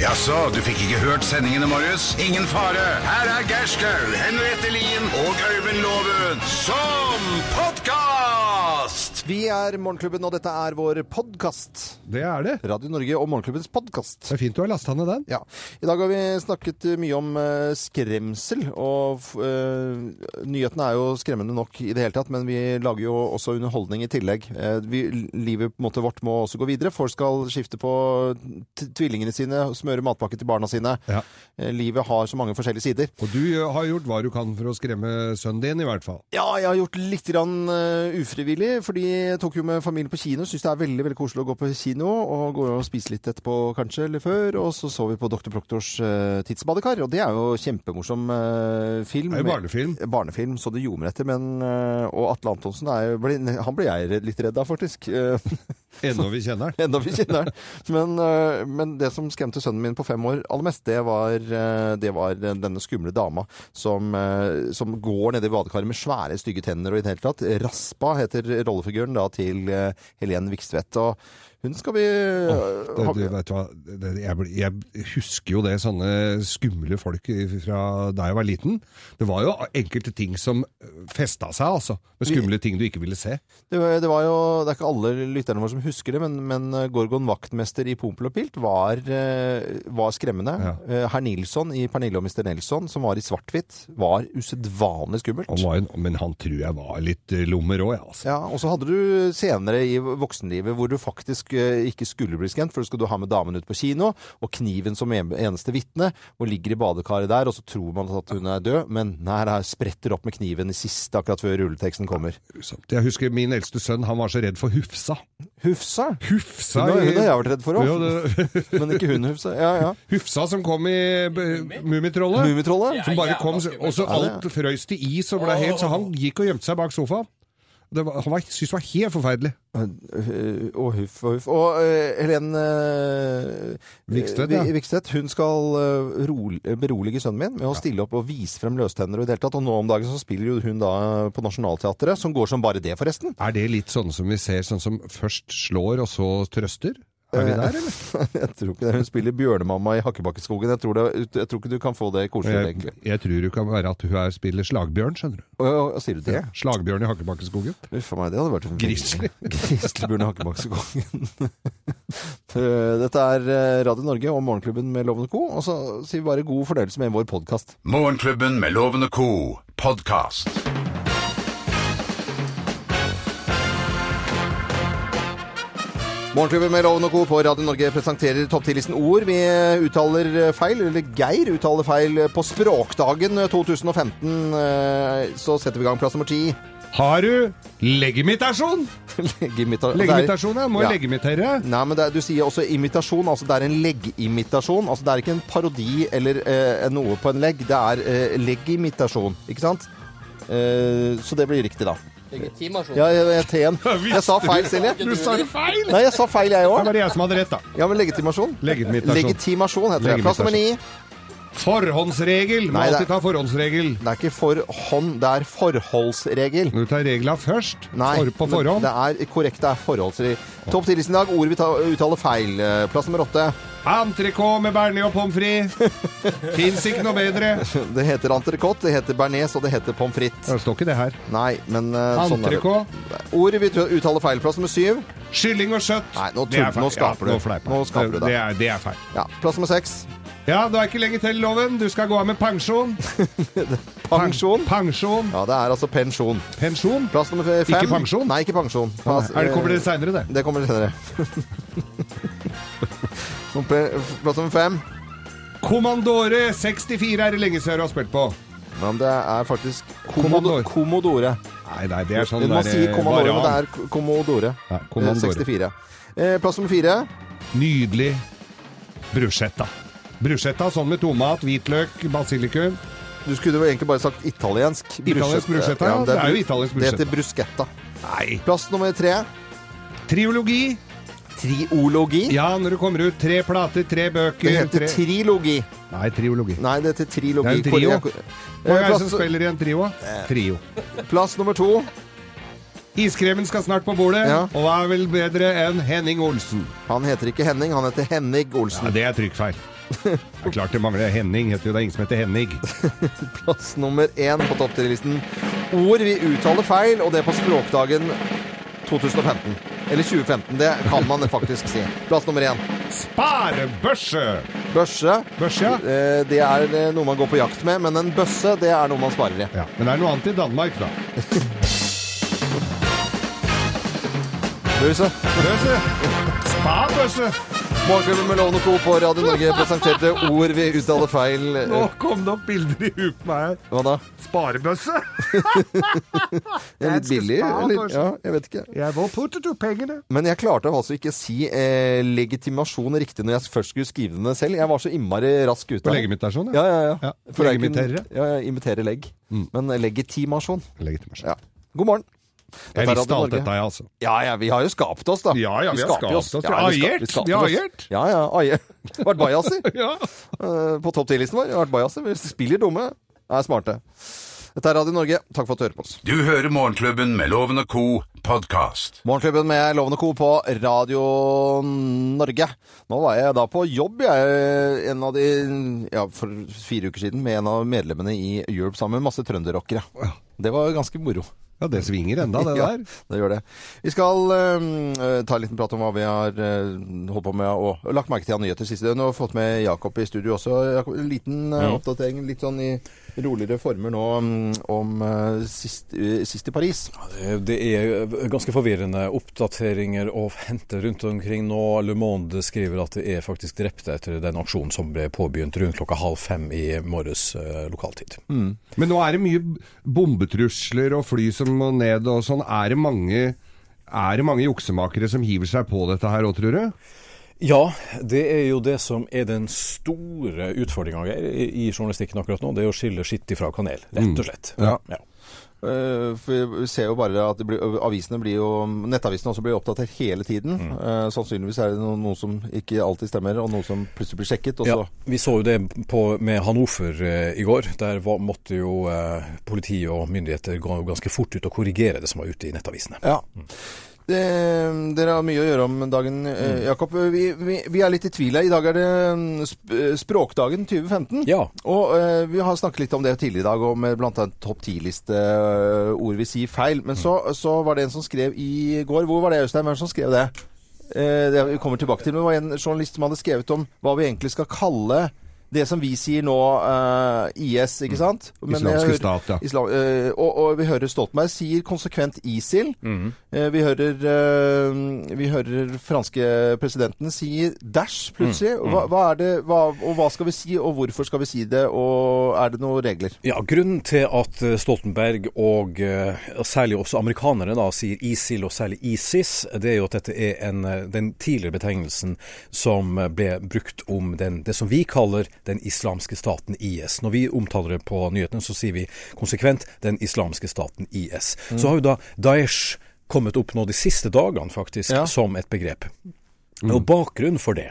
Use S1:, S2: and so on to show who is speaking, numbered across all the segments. S1: Jaså, du fikk ikke hørt sendingene, Marius? Ingen fare. Her er Gerskaug, Henriette Lien og Øyvind Loven som podkast!
S2: Vi er Morgenklubben, og dette er vår podkast.
S3: Det er det.
S2: Radio Norge og Morgenklubbens podkast.
S3: Det er fint du har lasta ned den.
S2: Ja. I dag har vi snakket eh, mye om eh, skremsel, og f- eh, nyhetene er jo skremmende nok i det hele tatt, men vi lager jo også underholdning i tillegg. Eh, vi, livet på en måte vårt må også gå videre. Folk skal skifte på t tvillingene sine, smøre matpakke til barna sine.
S3: Ja.
S2: Eh, livet har så mange forskjellige sider.
S3: Og du eh, har gjort hva du kan for å skremme sønnen din, i hvert fall.
S2: Ja, jeg har gjort litt grann, eh, ufrivillig, fordi jeg tok jo med familien på kino. Syns det er veldig veldig koselig å gå på kino og gå og spise litt etterpå, kanskje, eller før. Og så så vi på Dr. Proktors eh, Tidsbadekar, og det er jo kjempemorsom eh, film. Eh,
S3: Det er jo barnefilm.
S2: Barnefilm, så det ljomer etter. Men, eh, og Atle Antonsen, er, jo- ble- han ble jeg redd- litt redd av, faktisk. Eh,
S3: Ennå vi kjenner den.
S2: Enda vi kjenner den. Men, eh, men det som skremte sønnen min på fem år aller mest, det var, eh, det var denne skumle dama som, eh, som går nede i badekaret med svære, stygge tenner og i det hele tatt. Raspa heter rollefiguren da til eh, Helen Vikstvedt. Og hun skal vi eh,
S3: Det,
S2: ha-
S3: du, vet du hva? Det, jeg, blir- jeg husker jo det, sånne skumle folk i- fra da jeg var liten. Det var jo enkelte ting som festa seg, altså. Med skumle ting du ikke ville se.
S2: det, var- det var jo Det er ikke alle lytterne våre som husker det, men, men eh, Gorgon vaktmester i Pompel og Pilt var, eh, var skremmende.
S3: Ja.
S2: Eh, Herr Nilsson i 'Pernille og Mr. Nelson', som var i svart-hvitt, var usedvanlig skummelt.
S3: Han var en, men han tror jeg var litt eh, lommer òg, jeg, altså.
S2: Ja, og så hadde du senere i voksenlivet hvor du faktisk eh, ikke skulle bli skremt, for du skal du ha med damen ut på kino, og kniven som en- eneste vitne, og ligger i badekaret der, og så tror man at hun er død, men nei, det er- spretter opp med kniven i siste akkurat før rulleteksten kommer.
S3: Grusomt. Jeg husker min eldste sønn, han var så redd for Hufsa.
S2: Hufsa!
S3: Hufsa
S2: Hun er-
S3: i-
S2: hun har jeg vært redd for også.
S3: Ja, det-
S2: Men ikke hun, Hufsa. Ja, ja.
S3: Hufsa som kom i eh, b- Mummitrollet.
S2: Mummitrollet?
S3: Som bare kom, og så alt frøys til is og ble helt, så han gikk og gjemte seg bak sofaen. Det var, han var, syntes det var helt forferdelig.
S2: Eh, Og huff og huff. Og eh, Helen eh,
S3: Vikstvedt,
S2: Vi-
S3: ja.
S2: Vikstvedt, hun skal eh, rol- berolige sønnen min med å stille opp og vise frem løstenner og i det hele tatt. Og nå om dagen så spiller jo hun da eh, på Nationaltheatret, som går som bare det, forresten.
S3: Er det litt sånn som vi ser, sånn som først slår og så trøster?
S2: Eh,
S3: Er vi der, eller?
S2: Jeg tror ikke det. Hun spiller Bjørnemamma i Hakkebakkeskogen. Jeg tror, det, jeg tror ikke du kan få det koselig,
S3: Jeg,
S2: egentlig.
S3: jeg tror det kan være at hun her spiller slagbjørn, skjønner du.
S2: Og, og, og sier du det?
S3: Slagbjørn i Hakkebakkeskogen.
S2: Uff a meg, det hadde vært en-
S3: Grizzly.
S2: Grizzlybjørn i Hakkebakkeskogen. Dette er eh, Radio Norge og Morgenklubben med Lovende Co. Og så sier vi bare god fornøyelse med vår podkast.
S1: Morgenklubben med Loven og co. podkast.
S2: Morgenklubben med Loven og Co. på Radio Norge presenterer topp 10-listen ord. Vi eh, uttaler feil, eller Geir uttaler feil eh, på Språkdagen eh, 2015. eh, Så setter vi i gang plass nummer ti.
S3: Har du leggimitasjon?
S2: Leggimita-
S3: Leggimitasjon, ja. Må
S2: altså, Ja.
S3: legimitere.
S2: Nei, men det er, Du sier også imitasjon. altså Det er en leggimitasjon. altså Det er ikke en parodi eller eh, noe på en legg. Det er eh, leggimitasjon, ikke sant? Eh, så det blir riktig, da.
S4: Legitimasjon.
S2: Ja, jeg, jeg, T-en. jeg sa feil, Silje.
S3: Du sa det feil!
S2: Nei, jeg sa feil, jeg
S3: Det
S2: òg.
S3: var det jeg som hadde rett, da.
S2: Ja, men legitimasjon.
S3: Legitimasjon.
S2: Legitimasjon heter det. Plass nummer ni.
S3: Forhåndsregel! Må
S2: Nei, det er-
S3: alltid ta forhåndsregel.
S2: Det er ikke forhånd, det er forholdsregel.
S3: Du tar regla først.
S2: Nei,
S3: for, på forhånd.
S2: det er korrekt, det er forholdsregel. Topp 10-listen i dag, ord vi ta, uttaler feil. Eh, Plass nummer åtte.
S3: Entrecôte med bearnés og pommes frites. Fins ikke noe bedre.
S2: Det heter entrecôte, det heter bearnés, og det heter pommes frites.
S3: Det står ikke det her.
S2: Nei, men eh, sånn er det.
S3: Entrecôte,
S2: Ord vi tu- uttaler feil. Plass nummer syv.
S3: kylling og kjøtt.
S2: Nei, nå
S3: Det er
S2: tull-
S3: feil.
S2: nå skaper du.
S3: Ja, Nå, fleiper.
S2: Nå skaper du det.
S3: det. Er, det er feil.
S2: Ja, plass nummer seks.
S3: Ja, du er ikke lenger til loven. Du skal gå av med pensjon.
S2: Pensjon.
S3: Pensjon.
S2: Ja, det er altså pensjon.
S3: Pensjon?
S2: Plass nummer fem.
S3: Ikke pensjon?
S2: Nei, ikke pensjon. Plass,
S3: Er det, kommer det seinere, det?
S2: eh, det kommer senere. plass nummer fem.
S3: Kommandore 64 er det lenge siden du har spilt på.
S2: Ja, men det er faktisk Kommodore.
S3: Commodore.
S2: Commodore.
S3: Nei, nei, det er sånn
S2: Man
S3: der,
S2: sier
S3: eh,
S2: Commodore, men det
S3: varan.
S2: er K- Commodore.
S3: Ja,
S2: Eh,
S3: Commodore.
S2: 64. Eh, Plass nummer fire.
S3: Nydelig bruschetta. Bruschetta sånn med tomat, hvitløk, basilikum.
S2: Du skulle jo egentlig bare sagt italiensk.
S3: Italiensk bruschetta, ja.
S2: men
S3: Det er jo
S2: bru-
S3: italiensk
S2: Det heter bruschetta.
S3: Nei.
S2: Plass nummer tre.
S3: Triologi.
S2: Triologi.
S3: Ja, når du kommer ut. Tre plater, tre bøker.
S2: Det heter
S3: tre...
S2: trilogi.
S3: Nei, triologi.
S2: Nei, det heter trilogi.
S3: Det er en trio.
S2: Hvor- Eh,
S3: Hva er det som
S2: Plass, Eh.
S3: spiller i en trio? Trio.
S2: plass nummer to.
S3: Iskremen skal snart på bordet,
S2: Ja.
S3: og er vel bedre enn Henning Olsen.
S2: Han heter ikke Henning, han heter Henning Olsen.
S3: det er trykkfeil. Det er klart det mangler Henning. Heter jo, det er ingen som heter Henning.
S2: Plass nummer én på topp 10-listen. Ord vi uttaler feil, og det på språkdagen 2015. Eller 2015, det kan man faktisk si. Plass nummer én.
S3: Sparebørse!
S2: Børse.
S3: Børse, ja.
S2: Eh, Det er eh, noe man går på jakt med, men en bøsse det er noe man sparer i.
S3: ja. Men det er noe annet i Danmark, da.
S2: Bøse.
S3: Børse. Sparebørse!
S2: Morgenklubben med Lovende Co. på Radio Norge presenterte ord vi uttaler feil.
S3: Nå
S2: Eh,
S3: kom det opp bilder i huet på meg her.
S2: Hva da?
S3: Sparebøsse!
S2: Det er litt billig, eller? Ja, jeg vet ikke.
S3: Ja, hvor puttet du pengene?
S2: Men jeg klarte altså ikke å si eh, legitimasjon riktig når jeg først skulle skrive den selv. Jeg var så innmari rask ute.
S3: På legget mitt er sånn,
S2: Ja, ja, ja.
S3: Ja,
S2: For det er ikke-
S3: legitimiterer.
S2: Ja, ja, imitere legg.
S3: Mm.
S2: Men legitimasjon.
S3: Legitimasjon.
S2: Ja. God morgen.
S3: sånn. Jeg
S2: Dette er
S3: visste
S2: Radio
S3: alt
S2: Norge.
S3: dette, jeg, altså.
S2: Ja, ja, vi har jo skapt oss, da.
S3: Ja, ja, vi har
S2: skaper
S3: skapt oss. Vi har
S2: Ja, vi ska-
S3: eiert.
S2: vi skaper
S3: Vi har
S2: oss.
S3: eiert.
S2: Ja, ja, eiert. Vært bajaser
S3: Ja.
S2: eh, på topp 10-listen vår. Vært bajaser. Vi spiller dumme, er smarte. Dette er Radio Norge. Takk for at du hører på oss.
S1: Du hører Morgenklubben med Loven og Co. podkast.
S2: Morgenklubben med Lovende Co. på Radio Norge. Nå var jeg da på jobb, jeg, en av de, ja, for fire uker siden, med en av medlemmene i Europe sammen med masse trønderrockere. Det var ganske moro.
S3: ja, det svinger enda, det
S2: Ja,
S3: der.
S2: det gjør det. Vi skal eh, ta en liten prat om hva vi har eh, holdt på med og lagt merke til av nyheter siste døgn. Og fått med Jakob i studio også. Jakob, en liten eh, oppdatering, litt sånn i roligere former nå mm, om eh, sist, eh, sist i Paris.
S4: Eh, Det er ganske forvirrende oppdateringer å hente rundt omkring nå. Le Monde skriver at det er faktisk drepte etter den aksjonen som ble påbegynt rundt klokka halv fem i morges eh, lokaltid.
S2: Mm.
S3: Men nå er det mye bombetrusler og fly som må ned og sånn. Er det mange, er det mange juksemakere som hiver seg på dette her òg, tror du?
S4: Ja, det er jo det som er den store utfordringa i i journalistikken akkurat nå. Det er å skille skitt ifra kanel,
S2: Mm.
S4: rett og slett.
S3: Ja.
S4: Ja.
S2: Eh, for vi ser jo bare at det blir, avisene blir jo, nettavisene også blir oppdatert hele tiden. Eh, sannsynligvis er det noe, noe som ikke alltid stemmer, og noe som plutselig blir sjekket. Og så
S4: Ja, vi så jo det på, med Hannover eh, i går. Der var, måtte jo eh, politi og myndigheter gå ganske fort ut og korrigere det som var ute i nettavisene.
S2: Ja. Det, dere har mye å gjøre om dagen, eh, Jakob. Vi, vi, vi er litt i tvil her. I dag er det mm, sp eh, språkdagen 2015.
S4: Ja.
S2: Og eh, vi har snakket litt om det tidligere i dag, om eh, blant annet topp 10-liste eh, ord vi sier feil. Men så, så var det en som skrev i går Hvor var det, Øystein? Hvem var det som skrev det? Eh, det vi kommer tilbake til. Men det var en journalist som hadde skrevet om hva vi egentlig skal kalle det som vi sier nå, eh, IS, ikke sant? Men jeg
S3: Islamske
S2: hører-
S3: stat, ja.
S2: Islam, eh, og, og vi hører Stoltenberg sier konsekvent ISIL.
S4: Mhm.
S2: Eh, vi, hører, eh, vi hører franske presidenten si Dash plutselig.
S4: Mhm.
S2: Hva, hva er det, hva, og hva skal vi si, og hvorfor skal vi si det, og er det noen regler?
S4: Ja, Grunnen til at eh, Stoltenberg og eh, og særlig også amerikanere da, sier ISIL og særlig ISIS, det er jo at dette er en, eh, den tidligere betegnelsen som eh, ble brukt om den, det som vi kaller den islamske staten IS. Når vi omtaler det på nyhetene, så sier vi konsekvent den islamske staten IS. Så har jo da Daesh kommet opp nå de siste dagene faktisk
S2: Ja.
S4: som et begrep. Og Bakgrunnen for det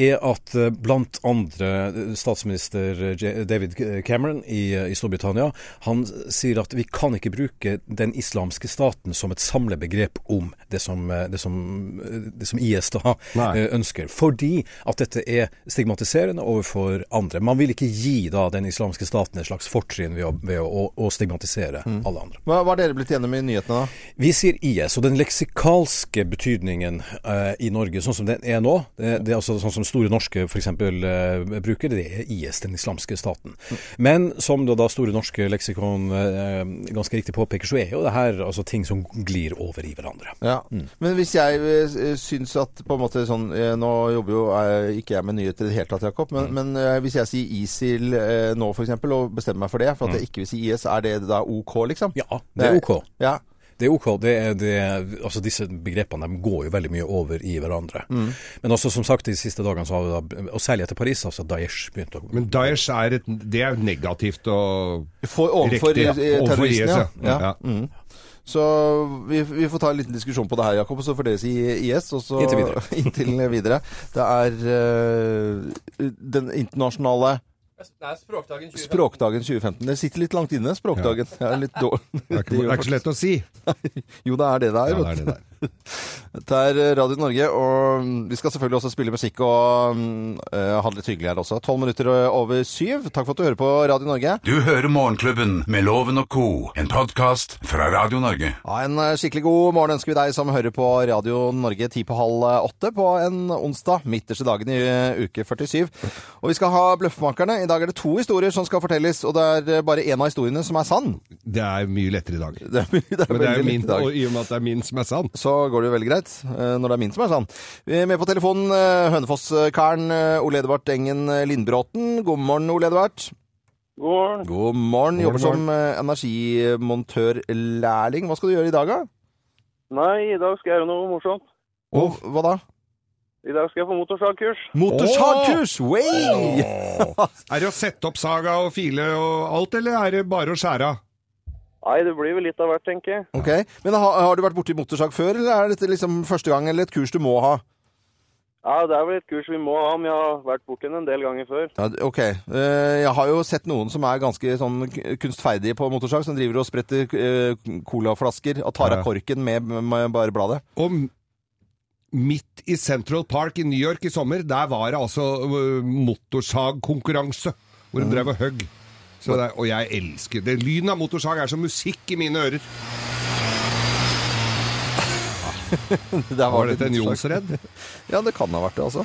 S4: er at eh, blant andre eh, statsminister eh, J- David Cameron i, eh, i Storbritannia han sier at vi kan ikke bruke den islamske staten som et samlebegrep om det som, eh, det som, eh, det som IS da
S3: Nei.
S4: eh, ønsker. Fordi at dette er stigmatiserende overfor andre. Man vil ikke gi da den islamske staten et slags fortrinn ved å, ved å, å stigmatisere alle andre.
S2: Hva, hva er dere blitt enige om i nyhetene, da?
S4: Vi sier IS, og den leksikalske betydningen eh, i Norge, sånn som den er nå Det, det er altså sånn som Store norske f.eks. Uh, bruker, det er IS, den islamske staten. Men som da, da Store norske leksikon eh, ganske riktig påpeker, så er jo det her altså, ting som glir over i hverandre.
S2: Ja. Men hvis jeg eh, syns at på en måte sånn eh, Nå jobber jo eh, ikke jeg med nyheter i det hele tatt, Jakob, men,
S4: Mhm.
S2: men eh, hvis jeg sier ISIL eh, nå, f.eks., og bestemmer meg for det, for at jeg ikke vil si IS, er det da OK, liksom?
S4: Mhm. Ja, det er OK.
S2: Ja.
S4: Det er ok. Det er, det er, altså disse begrepene de går jo veldig mye over i hverandre. Men også som sagt, de siste dagene, så har vi da, og særlig etter Paris, altså Daesh begynte å
S3: Men Daesh er, et, det er negativt og
S2: For, overfor
S3: riktig. ja.
S2: eh,
S3: Overfor
S2: terroristene, ja.
S3: IS,
S2: ja. Mm. Så vi, vi får ta en liten diskusjon på det her, Jakob, og så får dere si IS. Og så
S4: Inntil videre.
S2: inntil videre. Det er eh, den internasjonale
S5: Nei, språkdagen 2015.
S2: språkdagen 2015. Det sitter litt langt inne, språkdagen. Det er litt dårlig.
S3: Det er ikke, det er ikke så lett å si.
S2: Jo, det er det det er.
S3: Ja, det
S2: vet
S3: er
S2: du.
S3: det der.
S2: Dette er eh, Radio Norge, og mm, vi skal selvfølgelig også spille musikk og mm, eh, ha det litt hyggelig her også. Tolv minutter eh, over syv. Takk for at du hører på Radio Norge.
S1: Du hører Morgenklubben med Loven og co., en podkast fra Radio Norge.
S2: Ja, en eh, skikkelig god morgen ønsker vi deg som hører på Radio Norge ti på halv eh, åtte på en onsdag, midterste dagen i eh, uke 47. Og vi skal ha Bløffmakerne. I dag er det to historier som skal fortelles, og det er eh, bare én av historiene som er sann.
S3: Det er mye lettere i dag.
S2: Det er, det er
S3: Men det er
S2: veldig
S3: jo
S2: litt
S3: min,
S2: i dag.
S3: og i og med at det er min som er sann.
S2: så går det jo veldig greit. eh, Når det er min som er sann. Vi er med på telefonen eh, Hønefoss-karen eh, Ole Edvard Engen eh, Lindbråten. God morgen, Ole Edvard.
S6: God
S2: God morgen. Jobber som eh, energimontørlærling. Hva skal du gjøre i dag, da?
S6: Nei, i dag skal jeg gjøre noe morsomt.
S2: Og hva da?
S6: I dag skal jeg på motorsagkurs.
S2: Motorsagkurs! Way!
S3: Er det å sette opp saga og file og alt, eller er det bare å skjære av?
S6: Nei, det blir vel litt av hvert, tenker jeg.
S2: Ok, Men har, har du vært borti motorsag før, eller er dette liksom første gang eller et kurs du må ha?
S6: Ja, Det er vel et kurs vi må ha, men jeg har vært borti den en del ganger før.
S2: Ja, ok. Eh, Jeg har jo sett noen som er ganske sånn k- kunstferdige på motorsag, som driver og spretter eh, colaflasker og tar av
S3: Ja.
S2: korken med, med bare bladet.
S3: Og m- midt i Central Park i New York i sommer, der var det altså øh, motorsagkonkurranse, hvor de drev og høgg. Så det, er- og jeg elsker det. Lyden av motorsag er som musikk i mine ører.
S2: Der
S3: Var
S2: det
S3: dette en
S2: litt
S3: Jonsredd?
S2: slag. Ja, det kan ha vært det, altså.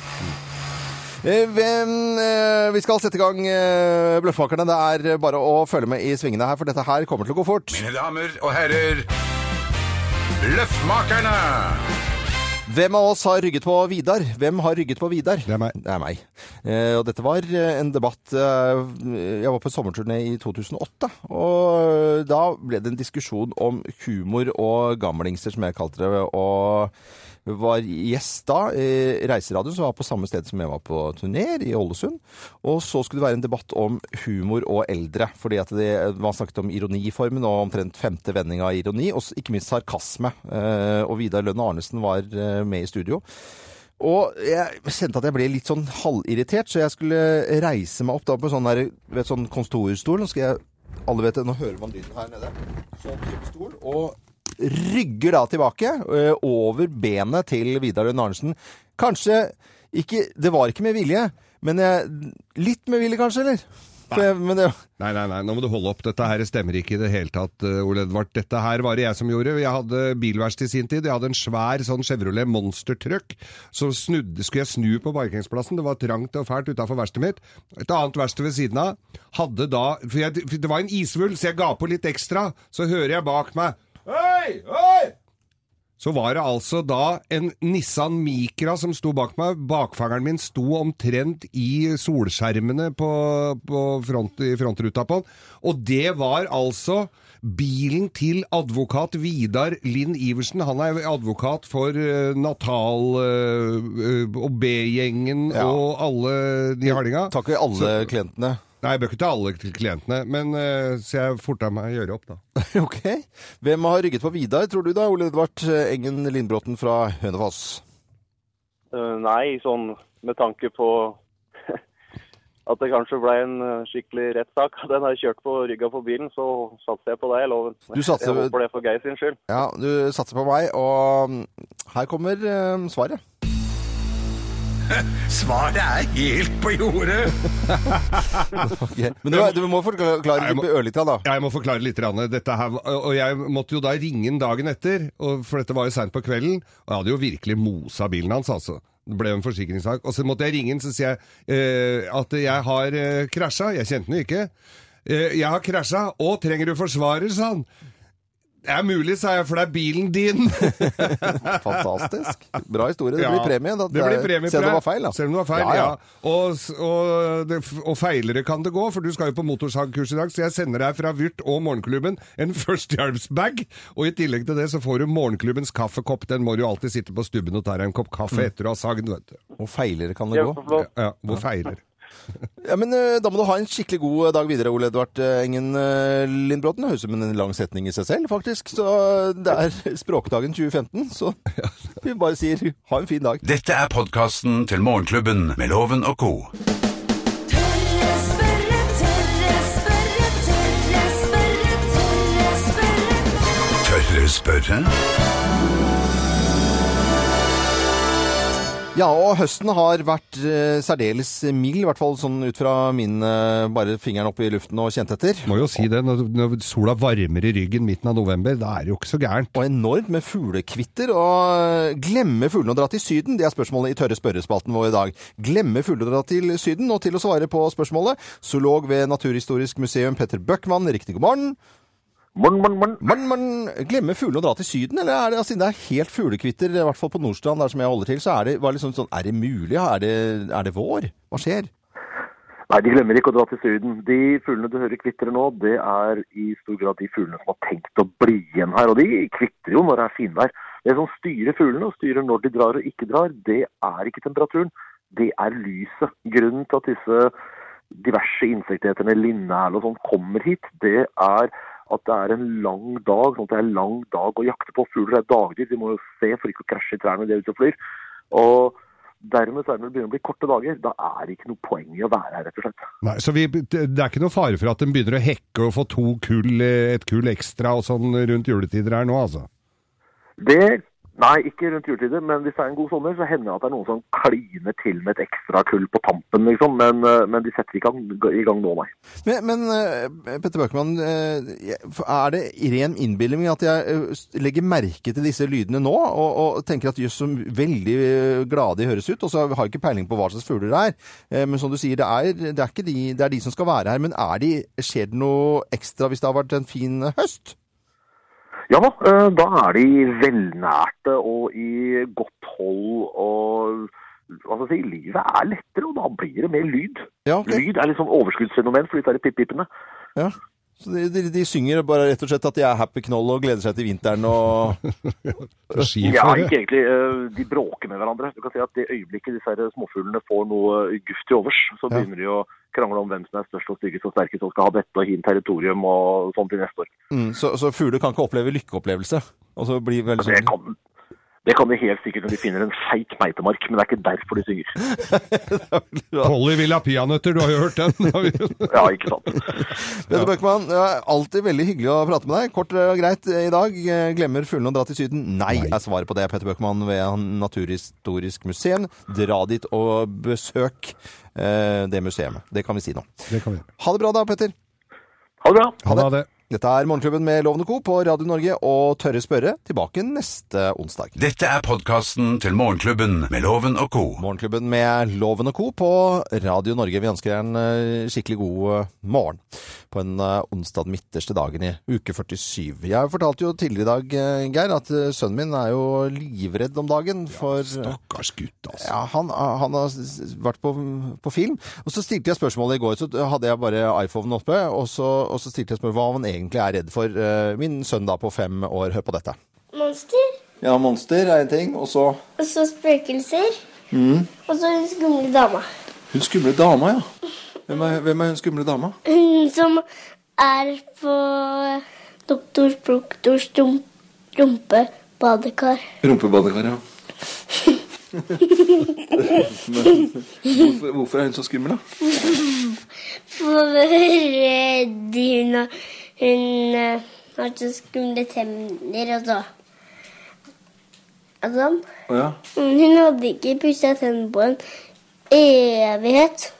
S2: Eh, hvem, eh, Vi skal sette i gang eh, Bløffmakerne. Det er bare å følge med i svingene her, for dette her kommer til å gå fort.
S1: Mine damer og herrer, Løffmakerne!
S2: Hvem av oss har rygget på Vidar? Hvem har rygget på Vidar?
S3: Det er meg.
S2: Det er meg. Eh, og dette var eh, en debatt eh, Jeg var på sommerturné i 2008. Og da ble det en diskusjon om humor og gamlingser, som jeg kalte det. Og var gjest da eh, i Reiseradioen, som var på samme sted som jeg var på turné, i Ålesund. Og så skulle det være en debatt om humor og eldre. Fordi at det, man snakket om ironiformen og omtrent femte vending av ironi. Og s- ikke minst sarkasme. Eh, og Vidar Lønn Arnesen var eh, med i studio. Og jeg kjente at jeg ble litt sånn halvirritert, så jeg skulle reise meg opp da på sånn, der, vet, sånn kontorstol. Nå skal jeg Alle vet det, nå hører man lyden her nede. Sånn type stol. Og rygger da tilbake ø, over benet til Vidar Lund Arnesen. Kanskje ikke Det var ikke med vilje, men jeg, litt med vilje kanskje, eller? For jeg, men det,
S3: Nei, nei, nei, nå må du holde opp. Dette her stemmer ikke i det hele tatt, øh, Ole Edvard. Dette her var det jeg som gjorde. Jeg hadde bilverst i sin tid. Jeg hadde en svær sånn Chevrolet monstertruck. Så snudde, skulle jeg snu på parkeringsplassen. Det var trangt og fælt utafor verkstedet mitt. Et annet verksted ved siden av hadde da For jeg, for det var en isvull, så jeg ga på litt ekstra. Så hører jeg bak meg Hei! Hei! Så var det altså da en Nissan Micra som sto bak meg. Bakfangeren min sto omtrent i solskjermene på, på front, i frontruta på den. Og det var altså bilen til advokat Vidar Lind Iversen. Han er advokat for eh, Natal eh, eh, og B-gjengen
S2: Ja.
S3: og alle de hardinga.
S2: takk for alle klientene.
S3: Nei, jeg bøker ikke til alle til klientene, men eh, så jeg forta meg å gjøre opp, da.
S2: ok. Hvem har rygget på Vidar, tror du da, Ole Edvard Engen Lindbråten fra Hønefoss?
S6: Eh, nei, sånn med tanke på at det kanskje ble en eh, skikkelig rettssak. Den har jeg kjørt på rygga på bilen, så satser jeg på deg, jeg lover.
S2: Du satser-
S6: Jeg håper det er for Geir sin skyld.
S2: Ja, du satser på meg, og mm, her kommer eh, svaret.
S1: Svaret er helt på jordet!
S2: Men du, du må forklare
S3: jeg må-
S2: litt ørlite, da.
S3: Jeg må forklare litt. Ranne. Dette her, og jeg måtte jo da ringe den dagen etter, og, for dette var jo seint på kvelden. Og jeg hadde jo virkelig mosa bilen hans, altså. Det ble jo en forsikringssak. Og så måtte jeg ringe den, så sier jeg eh, at jeg har eh, krasja. Jeg kjente den jo ikke. Eh, jeg har krasja. Å, trenger du forsvarer, sa han. Det er mulig, sa jeg, for det er bilen din.
S2: Fantastisk. Bra historie. Det
S3: Ja,
S2: blir premie. da.
S3: Det blir premie
S2: Selv om det
S3: for
S2: var feil, da.
S3: Selv om det var feil, ja. Og, s- og, det, f- og feilere kan det gå, for du skal jo på motorsagkurs i dag, så jeg sender deg fra Vyrt og Morgenklubben en førstehjelpsbag, og i tillegg til det så får du Morgenklubbens kaffekopp. Den må du jo alltid sitte på stubben og ta deg en kopp kaffe
S2: Mm.
S3: etter å ha sagd, vet du.
S2: Og feilere kan det gå.
S6: Kjempeflott.
S3: Ja, hvor feiler.
S2: Ja, men eh, Da må du ha en skikkelig god dag videre, Ole Edvard eh, Engen eh, Lindbråten. Det Høres ut som en lang setning i seg selv, faktisk. Så eh, det er Språkdagen 2015, så vi bare sier ha en fin dag.
S1: Dette er podkasten til Morgenklubben med Loven og co.
S7: Tørre spørre, tørre spørre, tørre spørre, tørre spørre.
S1: Tør dere spørre?
S2: Ja, og høsten har vært eh, særdeles mild, i hvert fall sånn ut fra min eh, bare fingeren opp i luften og kjent etter.
S3: Må jo si det, når, når sola varmer i ryggen midten av november, da er det jo ikke så gærent.
S2: Og enormt med fuglekvitter. Og glemme fuglene og dra til Syden? Det er spørsmålet i Tørre spørrespalten vår i dag. Glemme fuglene og dra til Syden? Og til å svare på spørsmålet, zoolog ved Naturhistorisk museum Petter Bøckmann, riktig god morgen.
S8: Morn, morn, morn.
S2: Men, men glemme fuglene og dra til Syden? Eller er det, altså, siden det er helt fuglekvitter, i hvert fall på Nordstrand, der som jeg holder til, så er det var liksom sånn Er det mulig? Er det, er det vår? Hva skjer?
S8: Nei, de glemmer ikke å dra til Syden. De fuglene du hører kvitre nå, det er i stor grad de fuglene som har tenkt å bli igjen her. Og de kvitrer jo når det er finvær. Det som styrer fuglene, og styrer når de drar og ikke drar, det er ikke temperaturen, det er lyset. Grunnen til at disse diverse insekteterne, linnæl og sånn, kommer hit, det er at det er en lang dag, sånn at det er en lang dag å jakte på. Fugler er dagdyr, de må jo se for ikke å krasje i trærne de er ute og flyr. Og dermed så er det når det begynner å bli korte dager, da er det ikke noe poeng i å være her, rett og slett.
S3: Nei, så vi, det er ikke noe fare for at den begynner å hekke og få to kull, eh, et kull ekstra og sånn rundt juletider her nå, altså.
S8: Det Nei, ikke rundt juletider, men hvis det er en god sommer, så hender det at det er noen som kliner til med et ekstra kull på tampen, liksom. Men, eh, men de setter ikke i gang nå, nei.
S2: Men, men eh, Petter Bøckmann, eh, jeg- er det ren innbilning at jeg eh, s- legger merke til disse lydene nå, og, og tenker at jøss, så veldig eh, glade de høres ut, og så har jeg ikke peiling på hva slags fugler det er. Eh, Men som du sier, det er, det er ikke de, det er de som skal være her, men er de, skjer det noe ekstra hvis det har vært en fin eh, høst?
S8: Ja da, eh, da er de velnærte og i godt hold og Hva skal jeg si, livet er lettere, og da blir det mer lyd.
S2: Ja, ok.
S8: Lyd er liksom overskuddsfenomen for disse her pip-pipene.
S2: Ja. Så de, de, de synger bare rett og slett at de er happy knoll og gleder seg til vinteren og
S3: Så
S8: Ja,
S3: skiføre.
S8: ikke egentlig. Eh, De bråker med hverandre. Du kan si at Det øyeblikket disse her småfuglene får noe guft til overs, så
S2: Ja.
S8: begynner de å krangle om hvem som er størst og styggest og sterkest og skal ha dette og hin territorium og sånn til neste år.
S2: mm, Så, så fugler kan ikke oppleve lykkeopplevelse. Og så blir veldig
S8: Det
S2: sånn
S8: kan, det kan de helt sikkert når de finner en feit meitemark, men det er ikke derfor de synger.
S3: Polly vil ha peanøtter, du har jo hørt den.
S8: Ja, ikke sant.
S2: Petter Bøckmann, det er alltid veldig hyggelig å prate med deg. Kort og greit i dag. eh, Glemmer fuglene å dra til Syden? Nei, er svaret på det. Petter Bøckmann ved Naturhistorisk museum. Dra dit og besøk eh, det museet. Det kan vi si nå.
S3: det kan vi gjøre.
S2: Ha det bra da, Petter.
S8: Ha det bra.
S3: Ha det. Ha det.
S2: Dette er Morgenklubben med Lovende Co. på Radio Norge og Tørre spørre tilbake neste onsdag.
S1: Dette er podkasten til Morgenklubben med Loven og co.
S2: Morgenklubben med Loven og Co. på Radio Norge. Vi ønsker en eh, skikkelig god eh, morgen på en eh, onsdag den midterste dagen i uke 47. Jeg fortalte jo tidligere i dag, eh, Geir, at eh, sønnen min er jo livredd om dagen for eh,
S3: Stakkars gutt, altså.
S2: ja, han, eh, han har s- s- vært på, på film. Og så stilte jeg spørsmålet i går, så hadde jeg bare iPhonen oppe, og så, og så stilte jeg spørsmålet hva han egentlig er redd for. Eh, Min sønn da på fem år, hør på dette.
S9: Monster,
S2: Ja, monster er en ting, og så
S9: og så spøkelser,
S2: Mm.
S9: og så hun skumle dama.
S2: hun skumle dama, ja. Hvem er, hvem er hun skumle dama?
S9: Hun som er på doktor proktors rum- rumpebadekar.
S2: Rumpebadekar, ja. Men hvorfor, hvorfor er hun så skummel, da?
S9: For redd hun, har- hun eh, har så skumle tenner og så. Og sånn.
S2: Å ja.
S9: Mm, Hun hadde ikke pussa tennene på en evighet.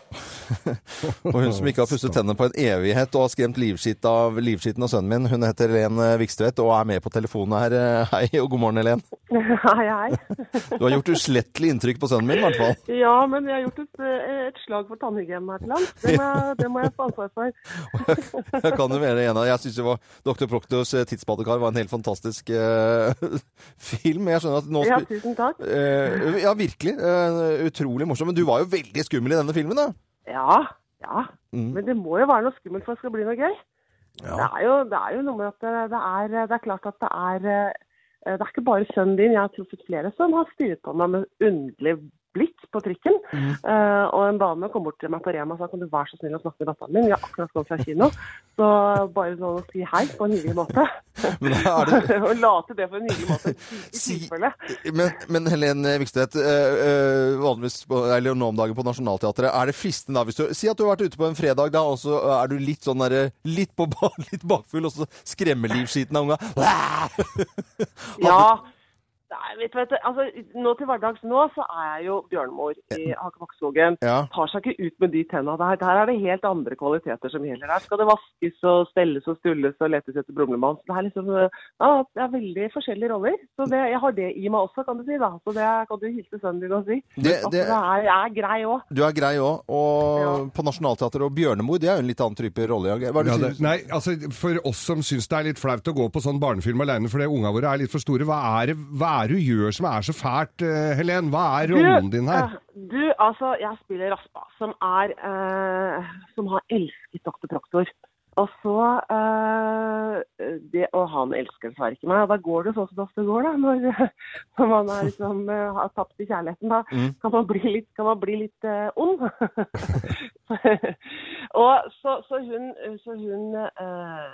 S2: Og hun som ikke har pusset tennene på en evighet og har skremt livskitt av livskitten av sønnen min, hun heter Helen eh, Vikstvedt og er med på telefonen her. eh, Hei og god morgen, Helen.
S10: Hei, hei.
S2: Du har gjort uslettelig inntrykk på sønnen min, i hvert fall.
S10: Ja, men jeg har gjort et, eh, et slag for tannhygienen her til lands. Det må, jeg- det må jeg få ansvar for.
S2: Jeg kan jo være en av Jeg syns jo var- Dr. Proktors eh, tidsbadekar var en helt fantastisk eh, film. Jeg skjønner at nå
S10: Ja,
S2: spi-
S10: tusen takk.
S2: Eh, ja, virkelig. Eh, utrolig morsom. Men du var jo veldig skummel i denne filmen, da.
S10: Ja, ja. Men det må jo være noe skummelt for at det skal bli noe gøy. Det, er jo, det er jo noe med at det, det, er, det er klart at det er eh, Det er ikke bare sønnen din. Jeg har truffet flere som har stirret på meg med underlig blikk på trikken.
S2: Mm.
S10: Eh, og en dame kom bort til meg på Rema og sa kan du være så snill å snakke med datteren min. Vi har akkurat kommet fra kino. Så bare sånn å si hei på en hyggelig måte.
S2: Men er det,
S10: og late det på en hyggelig måte. I
S2: Si-
S10: tilfelle.
S2: Men, men Helene Vikstvedt, eh, eh, vanligvis på, eller nå om dagen på Nationaltheatret, er det fristende da hvis du Si at du har vært ute på en fredag, da, og så er du litt sånn derre Litt på ba- litt bakfull, og så skremmer livskiten av unga. Blæh!
S10: Ja. Nei, vet du, vet du, altså, nå til hverdags nå så er jeg jo bjørnmor i Hakebakkskogen.
S2: Ja.
S10: Tar seg ikke ut med de tenna der. Der er det helt andre kvaliteter som gjelder. Der skal det vaskes og stelles og stulles og letes etter brumlemann. Så det er liksom eh, ja, det er veldig forskjellige roller. Så det, jeg har det i meg også, kan du si. da. Så det kan du hilse sønnen din og si.
S2: Det-
S10: At
S2: det-
S10: det er, jeg er grei òg.
S2: Du er grei òg. Og på Nationaltheatret og Bjørnemor, det er jo en litt annen type rolle. Jørgen. Hva er det
S3: Ja,
S2: du
S3: det,
S2: sier?
S3: nei, altså For oss som syns det er litt flaut å gå på sånn barnefilm alene fordi unga våre er litt for store, hva er det, hva er det du gjør som er så fælt, eh, Helen? Hva er rollen din her?
S10: eh, Du, altså, jeg spiller Raspa, som er eh, Som har elsket Dr. Proktor. Og så eh, det, Og han elsker dessverre ikke meg. Og da går det sånn som det ofte går, da. Når, når man er liksom, eh, har tapt i kjærligheten, da
S7: Mm.
S10: kan man bli litt, kan man bli litt eh, ond. og så, så hun, så hun eh,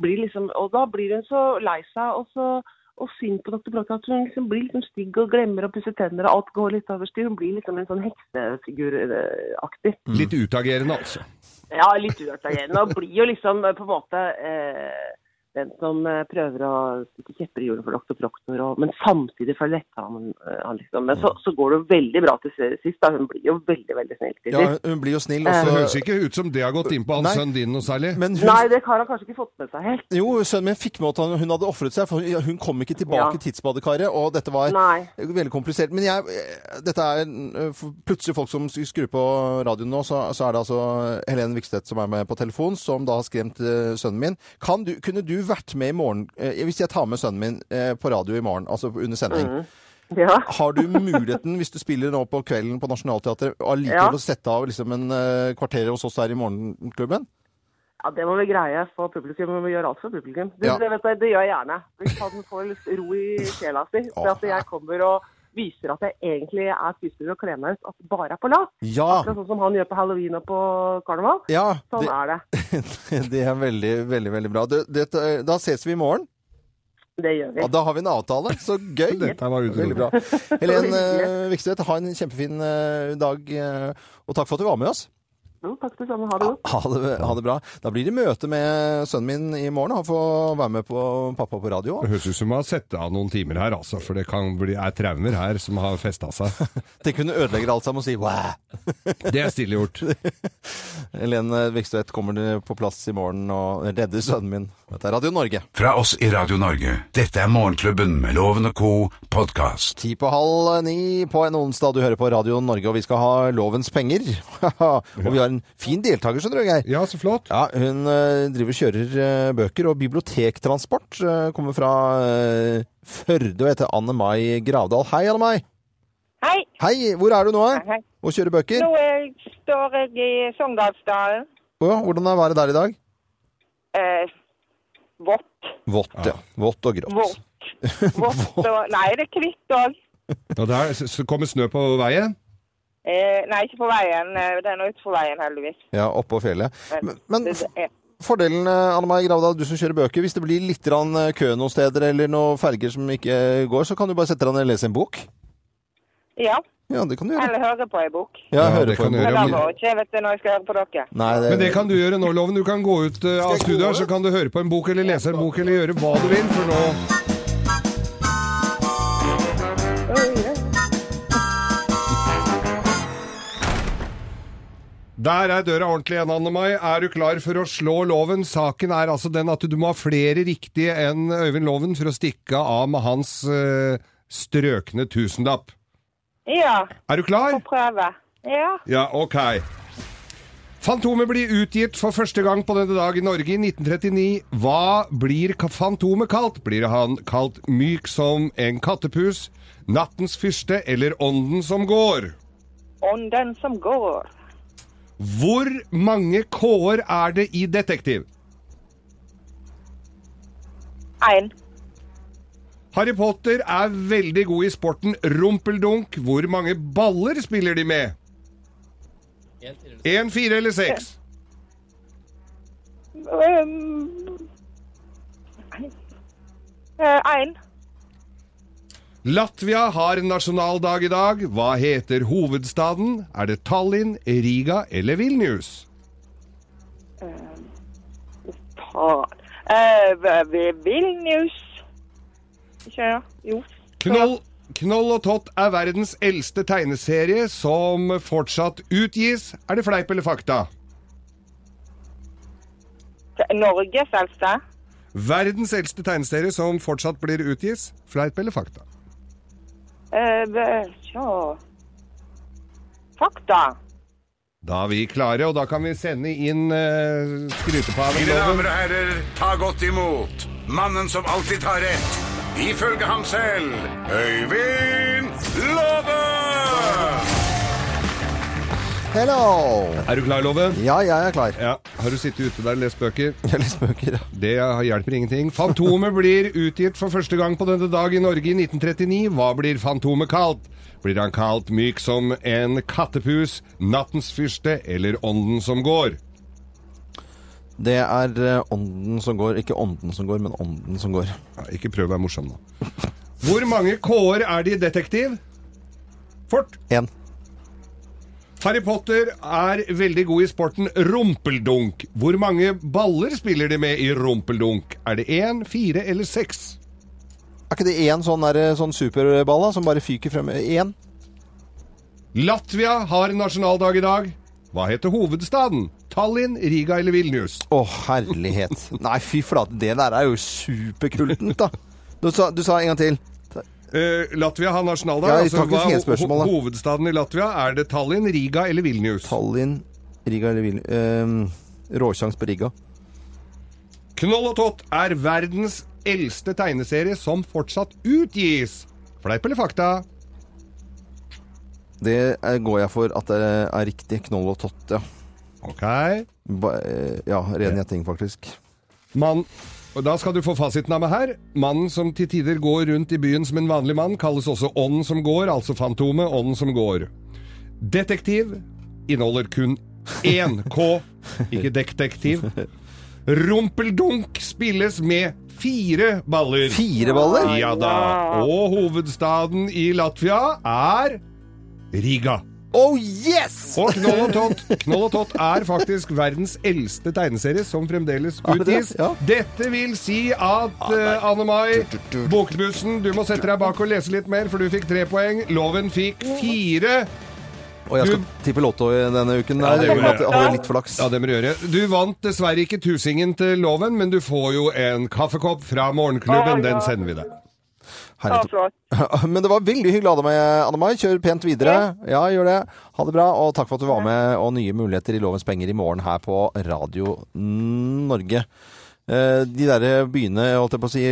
S10: blir liksom Og da blir hun så lei seg og så og sint på Dr. Blokk at hun liksom blir liksom stygg og glemmer å pusse tenner, og alt går litt over styr. Hun blir liksom en sånn heksefiguraktig.
S3: Litt utagerende, altså.
S10: Ja, litt uattagerende. Og blir jo liksom eh, på en måte eh, den som eh, prøver å stikke kjepper i hjulet for Dr. Proktor, og, men samtidig følger etter ham. eh, Han liksom. Men så, så går det jo veldig bra til sist. Da. Hun blir jo veldig, veldig snill til
S2: Ja,
S10: sist.
S2: hun blir jo snill.
S10: Eh,
S2: Også.
S10: Det
S3: høres ikke ut som det har gått inn på han sønnen din noe særlig.
S2: Men hun,
S10: Nei, det har han kanskje ikke fått med seg helt.
S2: Jo, sønnen min fikk med at han- hun hadde ofret seg, for hun- hun kom ikke tilbake
S10: Ja.
S2: i tidsbadekaret, og dette var
S10: Nei.
S2: veldig komplisert. Men jeg, eh, dette er eh, for plutselig folk som skrur på radioen nå, så, så er det altså Helene Vikstedt som er med på telefon, som da har skremt eh, sønnen min. Kan du, kunne du vært med i morgen, eh, hvis jeg tar med sønnen min eh, på radio i morgen, altså under sending?
S10: Mhm. Ja.
S2: Har du muligheten, hvis du spiller nå på kvelden på Nationaltheatret, allikevel
S10: Ja.
S2: å sette av liksom en eh, kvarter hos oss her i morgenklubben?
S10: Ja, det må vi greie for publikum. Vi må gjøre alt for publikum. Det,
S2: Ja.
S10: det, vet du, det gjør jeg gjerne. Hvis han får litt ro i sjela si. Så at jeg kommer og viser at jeg egentlig er skuespiller og kler meg ut. At det bare er på lag.
S2: Ja.
S10: Akkurat sånn som han gjør på halloween og på karneval.
S2: Ja,
S10: Sånn
S2: det-
S10: er det.
S2: det er veldig, veldig veldig bra. Det, dette- da ses vi i morgen.
S10: Det gjør vi.
S2: Ja, da har vi en avtale. Så gøy!
S3: Dette var
S2: veldig
S3: utrolig.
S2: bra. Helen eh, Vikstvedt, ha en kjempefin eh, dag, eh, og takk for at du var med oss.
S10: Jo, takk det samme. Ha det godt.
S2: Ha det, ha det bra. Da blir det møte med sønnen min i morgen. Han får være med på pappa på radio.
S3: Det høres ut som man har sett av noen timer her, altså, for det kan bli, er traumer her som har festa seg.
S2: Tenk hun ødelegger alt sammen og sier wow.
S3: Det er stille gjort.
S2: Helene Vikstvedt kommer på plass i morgen og redder sønnen min. Dette er Radio Norge.
S1: Fra oss i Radio Norge. Dette er Morgenklubben med Loven og co. podkast.
S2: Ti på halv ni på en onsdag. Du hører på Radio Norge, og vi skal ha lovens penger. og vi har en fin deltaker, skjønner du, Geir.
S3: Ja, så flott.
S2: hun eh, driver og kjører eh, bøker, og bibliotektransport eh, kommer fra eh, Førde og heter Anne Mai Gravdal. Hei, Anne Mai.
S11: Hei.
S2: Hei, hvor er du nå? eh?
S11: Hei, hei.
S2: Og kjører bøker?
S11: Nå eh, står jeg i Sogndalsdalen.
S2: Å ja, hvordan er været der i dag?
S11: Eh, vått,
S2: Vått, ja. Vått og grått.
S11: vått, vått. og- Nei, det er hvitt òg.
S3: Og der s- s- kommer snø på veien.
S11: Eh, nei, ikke på veien. Eh, Det er nå utenfor veien, heldigvis.
S2: Ja, oppå fjellet. Men, men
S11: det, det er.
S2: Fordelen, eh, Anne Mai Gravdal, du som kjører bøker, hvis det blir litt grann, eh, kø noen steder eller noen ferger som ikke eh, går, så kan du bare sette deg ned og lese en bok.
S11: Ja.
S2: Ja, det kan du gjøre.
S11: Eller høre på ei bok.
S2: Ja, høre
S3: det
S2: på
S3: kan
S2: en
S3: du
S11: Men
S2: bok.
S11: det går ikke vet du, når jeg skal høre på dere.
S2: Nei, det...
S3: Men det kan du gjøre nå, Loven. Du kan gå ut eh, av studioet, her, så kan du høre på en bok eller lese en bok eller gjøre hva du vil, for nå Der er døra ordentlig igjen, Anne Mai. Er du klar for å slå loven? Saken er altså den at du må ha flere riktige enn Øyvind Loven for å stikke av med hans eh, strøkne tusenlapp.
S11: Ja.
S3: Er du klar?
S11: Få prøve. Ja.
S3: Ja, ok. Fantomet blir utgitt for første gang på denne dag i Norge i 1939. Hva blir ka- Fantomet kalt? Blir han kalt myk som en kattepus, nattens fyrste eller ånden som går?
S11: Ånden som går.
S3: Hvor mange K-er er det i Detektiv?
S11: Én.
S3: Harry Potter er veldig god i sporten rumpeldunk. Hvor mange baller spiller de med? Én, fire eller seks?
S11: Um, eh, Én.
S3: Latvia har nasjonaldag i dag. Hva heter hovedstaden? Er det Tallinn, Riga eller Vilnius?
S11: Faen. Eh, ved Vilnius Ikke ja. Jo.
S3: Knoll, Knoll og Tott er verdens eldste tegneserie som fortsatt utgis. Er det fleip eller fakta?
S11: Norges eldste.
S3: Verdens eldste tegneserie som fortsatt blir utgis. Fleip eller fakta?
S11: Eh, b- Sjå Fakta.
S3: Da er vi klare, og da kan vi sende inn uh, skrytepaven.
S1: Mine damer
S3: Loven.
S1: og herrer, ta godt imot mannen som alltid tar rett, ifølge ham selv, Øyvind Låve!
S2: Hello!
S3: Er du klar, Loven?
S2: Ja, jeg er klar.
S3: Ja. Har du sittet ute der og lest bøker?
S2: Jeg leser bøker, ja.
S3: Det hjelper ingenting. Fantomet blir utgitt for første gang på denne dag i Norge i 1939. Hva blir Fantomet kalt? Blir han kalt myk som en kattepus, nattens fyrste eller ånden som går?
S2: Det er eh, ånden som går. Ikke ånden som går, men ånden som går.
S3: Ja, ikke prøv å være morsom nå. Hvor mange K-er er det i detektiv? Fort!
S2: Én.
S3: Harry Potter er veldig god i sporten rumpeldunk. Hvor mange baller spiller de med i rumpeldunk? Er det én, fire eller seks?
S2: Er ikke det én sånn, der, sånn superball da, som bare fyker frem? Én?
S3: Latvia har nasjonaldag i dag. Hva heter hovedstaden? Tallinn, Riga eller Vilnius?
S2: Å, herlighet. Nei, fy flate. Det der er jo superkultent, da. Du sa, du sa en gang til.
S3: Eh, Latvia har nasjonaldag.
S2: Ja, jeg
S3: altså,
S2: tar ikke
S3: hva er ho-
S2: fjelspørsmål, da.
S3: ho- hovedstaden i Latvia? Er det Tallinn, Riga eller Vilnius?
S2: Tallinn, Riga eller Vilnius eh, Råsjans på Riga.
S3: Knoll og Tott er verdens eldste tegneserie som fortsatt utgis. Fleip eller fakta?
S2: Det eh, går jeg for at det er riktig. Knoll og tott, ja.
S3: Ok.
S2: Ba, eh, ja, ren gjetting, faktisk.
S3: Mann, og da skal du få fasiten av meg her. Mannen som til tider går rundt i byen som en vanlig mann, kalles også Ånden som går, altså Fantomet, Ånden som går. Detektiv inneholder kun én K, ikke detektiv. Rumpeldunk spilles med fire baller.
S2: Fire baller?
S3: Ja da. Og hovedstaden i Latvia er Riga.
S2: Oh yes!
S3: Og Knoll og Tott. Knoll og Tott er faktisk verdens eldste tegneserie som fremdeles
S2: Er det det?
S3: utgis.
S2: Ja. Ah,
S3: Dette vil si at eh, Anne Mai, Bokbussen, du må sette deg bak og lese litt mer, for du fikk tre poeng. Loven fikk fire.
S2: Og jeg skal tippe Lotto i denne uken. Ja,
S3: det
S2: det
S3: gjorde jeg.
S2: Hadde litt flaks.
S3: Ja, det må du gjøre. Du vant dessverre ikke tusingen til Loven, men du får jo en kaffekopp fra
S2: Ah,
S3: Morgenklubben. Den sender vi deg.
S2: Herregud. Men det var veldig hyggelig å ha deg med, Anne Mai. Kjør pent videre. Ja, gjør det. Ha det bra, og takk for at du var med. Og nye muligheter i Lovens penger i morgen her på Radio Norge. Eh, De derre byene, jeg holdt jeg på å si,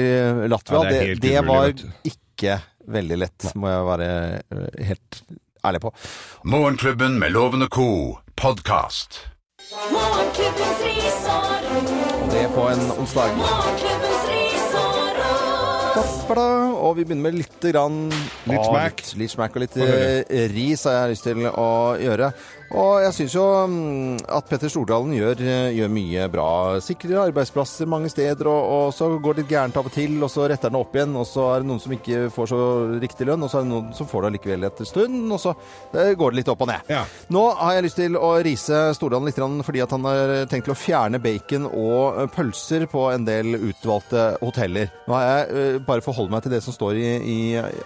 S2: Latvia,
S3: Ja, det
S2: det,
S3: er helt
S2: det
S3: umulig,
S2: var
S3: vet
S2: ikke veldig lett, må jeg være eh, helt ærlig på.
S1: Morgenklubben med Loven og Co. podkast.
S7: Morgenklubbens ris og ros.
S2: Det på en onsdag.
S7: Morgenklubbens ris og ros.
S2: Kappa, og vi begynner med litt grann
S3: Litt
S2: av
S3: smack.
S2: Litt, litt smack og litt
S3: Få høre.
S2: eh, ris har jeg lyst til å gjøre. Og jeg syns jo mm, at Petter Stordalen gjør, eh, gjør mye bra. Sikrer arbeidsplasser mange steder, og, og så går det litt gærent av og til, og så retter han det opp igjen, og så er det noen som ikke får så riktig lønn, og så er det noen som får det likevel etter stund, og så eh, går det litt opp og ned.
S3: Ja.
S2: Nå har jeg lyst til å rise Stordalen litt grann, fordi at han har tenkt til å fjerne bacon og eh, pølser på en del utvalgte hoteller. Nå har jeg eh, bare forholdt meg til det som står i, i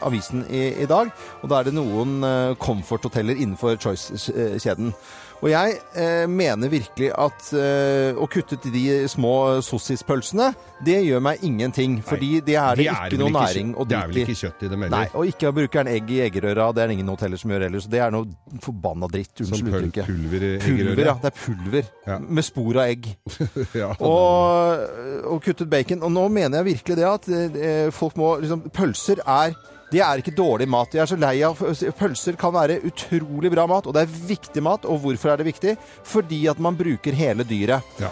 S2: avisen i, i dag, og da er det noen eh, comfort-hoteller innenfor Choice-kjeden. Og jeg eh, mener virkelig at eh, å kutte til de små sossispølsene, det gjør meg ingenting. Fordi det er det
S3: De
S2: ikke
S3: vel
S2: noe næring og
S3: Det er vel
S2: drit i.
S3: ikke kjøtt i dem
S2: Nei,
S3: heller.
S2: og ikke bruker en egg i eggerøra. Det er det ingen hoteller som gjør heller, så det er noe forbanna dritt.
S3: Som
S2: Unnskyld
S3: pul-
S2: uttrykket.
S3: pulver i
S2: Pulver, ja.
S3: eggerøret.
S2: Det er pulver.
S3: Ja.
S2: Med spor av egg.
S3: Ja.
S2: Og, og kuttet bacon. Og nå mener jeg virkelig det at eh, folk må liksom, Pølser er det er ikke dårlig mat. Jeg er så lei av Pølser kan være utrolig bra mat, og det er viktig mat. Og hvorfor er det viktig? Fordi at man bruker hele dyret.
S3: Ja.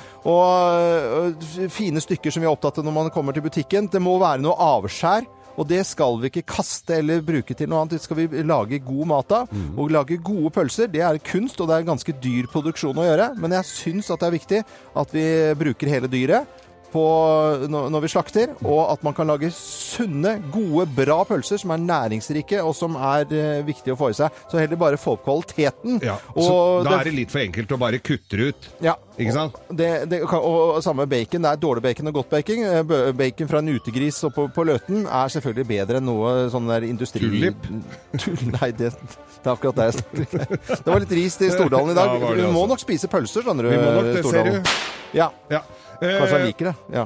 S2: Og ø, fine stykker som vi er opptatt av når man kommer til butikken. Det må være noe avskjær. Og det skal vi ikke kaste eller bruke til noe annet. Det skal vi lage god mat av.
S3: Mm.
S2: Og lage gode pølser, det er kunst, og det er ganske dyr produksjon å gjøre. Men jeg syns at det er viktig at vi bruker hele dyret. på når når vi slakter, og at man kan lage sunne, gode, bra pølser som er næringsrike og som er eh, viktige å få i seg. Så heller bare få opp kvaliteten.
S3: Ja,
S2: og
S3: så da
S2: det-
S3: er det litt for enkelt å bare kutte det ut.
S2: ja.
S3: Ikke sant?
S2: Det, det, kan- og samme bacon. Det er dårlig bacon og godt bacon. Eh, bø- Bacon fra en utegris og på, på Løten er selvfølgelig bedre enn noe sånn der industri...
S3: Tulip?
S2: Tull- Nei, det, det er akkurat der jeg snakker. Det var litt rist i Stordalen i dag.
S3: Ja, var det
S2: Vi må
S3: altså.
S2: nok spise pølser, skjønner du.
S3: Vi må nok det, ser
S2: Stordalen.
S3: du.
S2: Ja. Kanskje han
S3: Eh,
S2: liker det. Ja.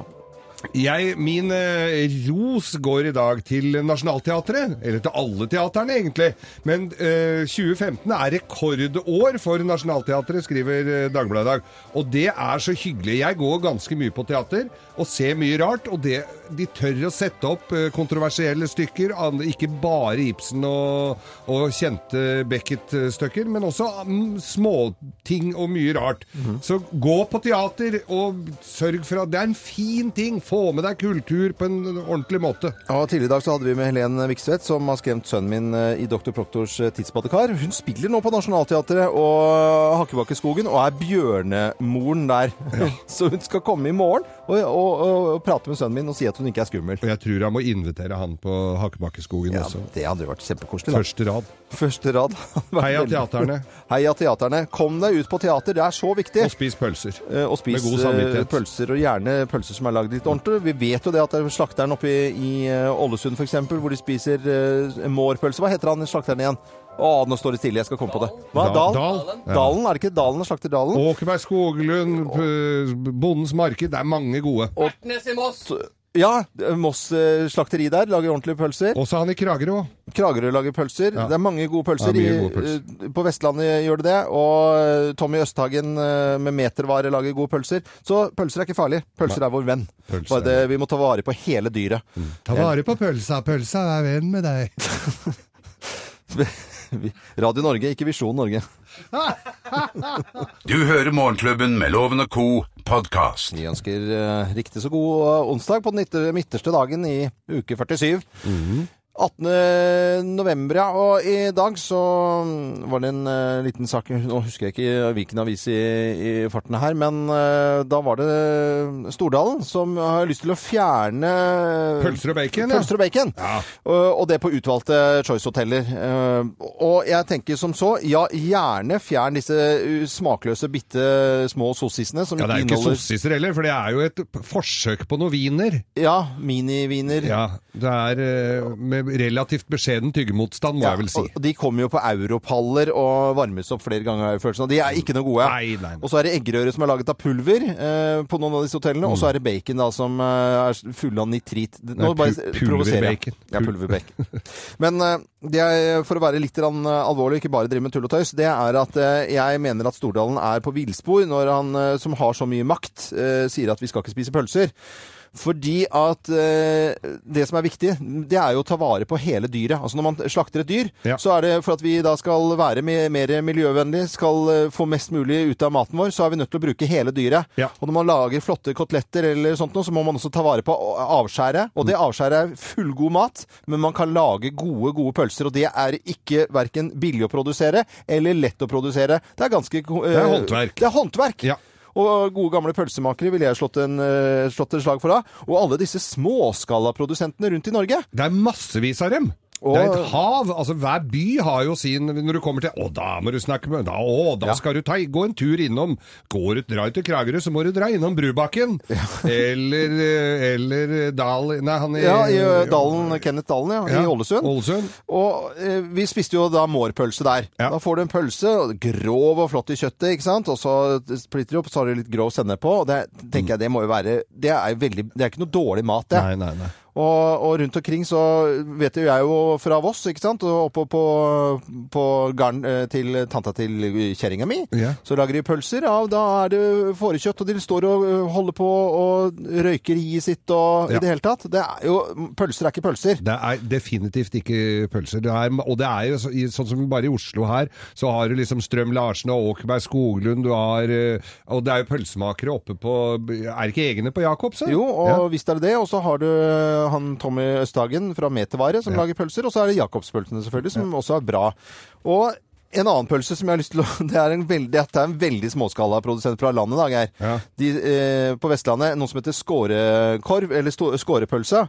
S3: Jeg, min eh, ros går i dag til Nationaltheatret, eller til alle teaterne egentlig. Men eh, 2015 er rekordår for Nationaltheatret, skriver eh, Dagbladet i dag. Og det er så hyggelig. Jeg går ganske mye på teater og ser mye rart. Og det, de tør å sette opp eh, kontroversielle stykker, an- ikke bare Ibsen og, og kjente Beckett-stykker, men også mm, småting og mye rart.
S2: Mhm.
S3: Så gå på teater og sørg for at det er en fin ting. Få med deg kultur på en ordentlig måte.
S2: Og tidligere i dag så hadde vi med Helen Vikstvedt, som har skremt sønnen min eh, i Dr. Proktors eh, Tidsbadekar. Hun spiller nå på Nationaltheatret og eh, Hakkebakkeskogen, og er bjørnemoren der. så hun skal komme i morgen og, og, og, og prate med sønnen min og si at hun ikke er skummel.
S3: Og jeg tror jeg må invitere han på Hakebakkeskogen
S2: Ja,
S3: også.
S2: Det hadde vært kjempekoselig. da.
S3: Første rad.
S2: Første rad.
S3: Heia teaterne.
S2: Heia teaterne. Kom deg ut på teater, det er så viktig.
S3: Og spis pølser.
S2: Eh, Og spis
S3: Med god
S2: eh,
S3: samvittighet.
S2: pølser, og gjerne pølser som er lagd litt ordentlig. Vi vet jo det at det er slakteren oppe i, i eh, Ålesund f.eks., hvor de spiser eh, mårpølse. Hva heter han slakteren igjen? Å, nå står det stille, jeg skal komme på det. Hva? Dal?
S3: Dal- Dalen. Ja.
S2: Dalen, er det ikke Dalen og slakter Dalen?
S3: Åkerberg Skoglund, p- Bondens Marked. Det er mange gode.
S5: Ertnes i Moss.
S2: Ja, Moss eh, slakteri der lager ordentlige pølser.
S3: Også han i Kragerø.
S2: Kragerø lager pølser. Det er mange gode pølser.
S3: Det er mye
S2: i-
S3: gode pølser.
S2: eh, På Vestlandet gjør det det. Og eh, Tommy Østhagen eh, med metervare lager gode pølser. Så pølser er ikke farlig. Pølser er vår venn.
S3: Pølser
S2: Bare
S3: er- Mm.
S2: det, vi må ta vare på hele dyret.
S3: Ta vare på pølsa. Pølsa er venn med deg.
S2: Vi- Radio Norge, ikke Visjon Norge.
S1: Du hører Morgenklubben med Loven og Co. podkast.
S2: Vi ønsker eh, riktig så god eh, onsdag på den nitte- midterste dagen i uke 47.
S3: Mhm.
S2: 18. november, ja. Og i dag så mm, var det en eh, liten sak Nå husker jeg ikke hvilken avis i, i farten her, men eh, da var det Stordalen som har lyst til å fjerne eh,
S3: Pølser og bacon, ja.
S2: Pølser og bacon. Og, og det på utvalgte Choice-hoteller. Eh, Og jeg tenker som så, ja, gjerne fjern disse uh, smakløse, bitte små sossisene som
S3: Ja, det er jo ikke
S2: inneholder
S3: sossiser heller, for det er jo et p- forsøk på noe wiener.
S2: Ja, miniviner.
S3: Ja, det er eh, med relativt beskjeden tyggemotstand, må jeg vel si.
S2: og- og de kommer jo på europaller og varmes opp flere ganger, har jeg følelsen av. De er ikke noe gode.
S3: Nei, nei, nei.
S2: Og så er det eggerøre som er laget av pulver eh, på noen av disse hotellene, og så er det bacon da, som eh, er fulle av nitrit.
S3: Mm. Nei,
S2: Nå bare
S3: pu-
S2: provoserer jeg.
S3: pulverbacon.
S2: Ja, pulverbacon. Men eh, det er, for å være litt grann, eh, alvorlig, ikke bare drive med tull og tøys, det er at eh, jeg mener at Stordalen er på villspor når han eh, som har så mye makt, eh, sier at vi skal ikke spise pølser. Fordi at eh, det som er viktig, det er jo å ta vare på hele dyret. Altså når man slakter et dyr,
S3: Ja.
S2: så er det for at vi da skal være me- mer miljøvennlig, skal eh, få mest mulig ut av maten vår, så er vi nødt til å bruke hele dyret.
S3: Ja.
S2: Og når man lager flotte koteletter eller sånt noe, så må man også ta vare på avskjæret. Og det
S3: Mm.
S2: avskjæret er fullgod mat, men man kan lage gode, gode pølser. Og det er ikke verken billig å produsere eller lett å produsere. Det er ganske ko-
S3: er
S2: eh,
S3: håndverk.
S2: Det er håndverk.
S3: Ja.
S2: Og gode gamle pølsemakere ville jeg slått, en, eh, slått et slag for da. Og alle disse småskalaprodusentene rundt i Norge.
S3: Det er massevis av dem.
S2: Og-
S3: Det er et hav. altså Hver by har jo sin Når du kommer til Å, da må du snakke med da, Å, da skal du ta, gå en tur innom Går du drar du til Kragerø, så må du dra innom Brubakken. Eller, eh, eller Dal... Nei, han i,
S2: Ja, i eh, Dalen, Kenneth Dalen, ja,
S3: Ja,
S2: i Ålesund.
S3: Ålesund.
S2: Og eh, vi spiste jo da mårpølse der.
S3: Ja.
S2: Da får du en pølse, og grov og flott i kjøttet, ikke sant? Og så splitter du opp, så har du litt grov sennep på, og det tenker jeg det må jo være Det er, jo veldig, det er ikke noe dårlig mat, det.
S3: Nei, nei, nei.
S2: Og, og rundt omkring så vet jo jeg jo fra Voss, ikke sant, og oppe på, på garn eh, til tanta til kjerringa mi,
S3: Ja.
S2: så lager de pølser av, da er det fårekjøtt, og de står og eh, holder på og røyker i sitt og
S3: Ja.
S2: i det hele tatt. Det er jo, pølser er ikke pølser.
S3: Det er definitivt ikke pølser. Det er, og det er jo så, i, sånn som bare i Oslo her, så har du liksom Strøm-Larsen og Åkerberg Skoglund, du har eh, Og det er jo pølsemakere oppe på Er det ikke egne på Jacobs? da?
S2: Jo, og
S3: Ja.
S2: visst er det det, og så har du eh, han Tommy Østhagen fra Metervare som lager pølser, og så er det Jakobspølsene selvfølgelig, som også er bra. Og En annen pølse som jeg har lyst til å Det er en veldig, dette er en veldig småskala produsent fra landet, da, Geir. De, eh, på Vestlandet noe som heter skårekorv, eller stå- skårepølse.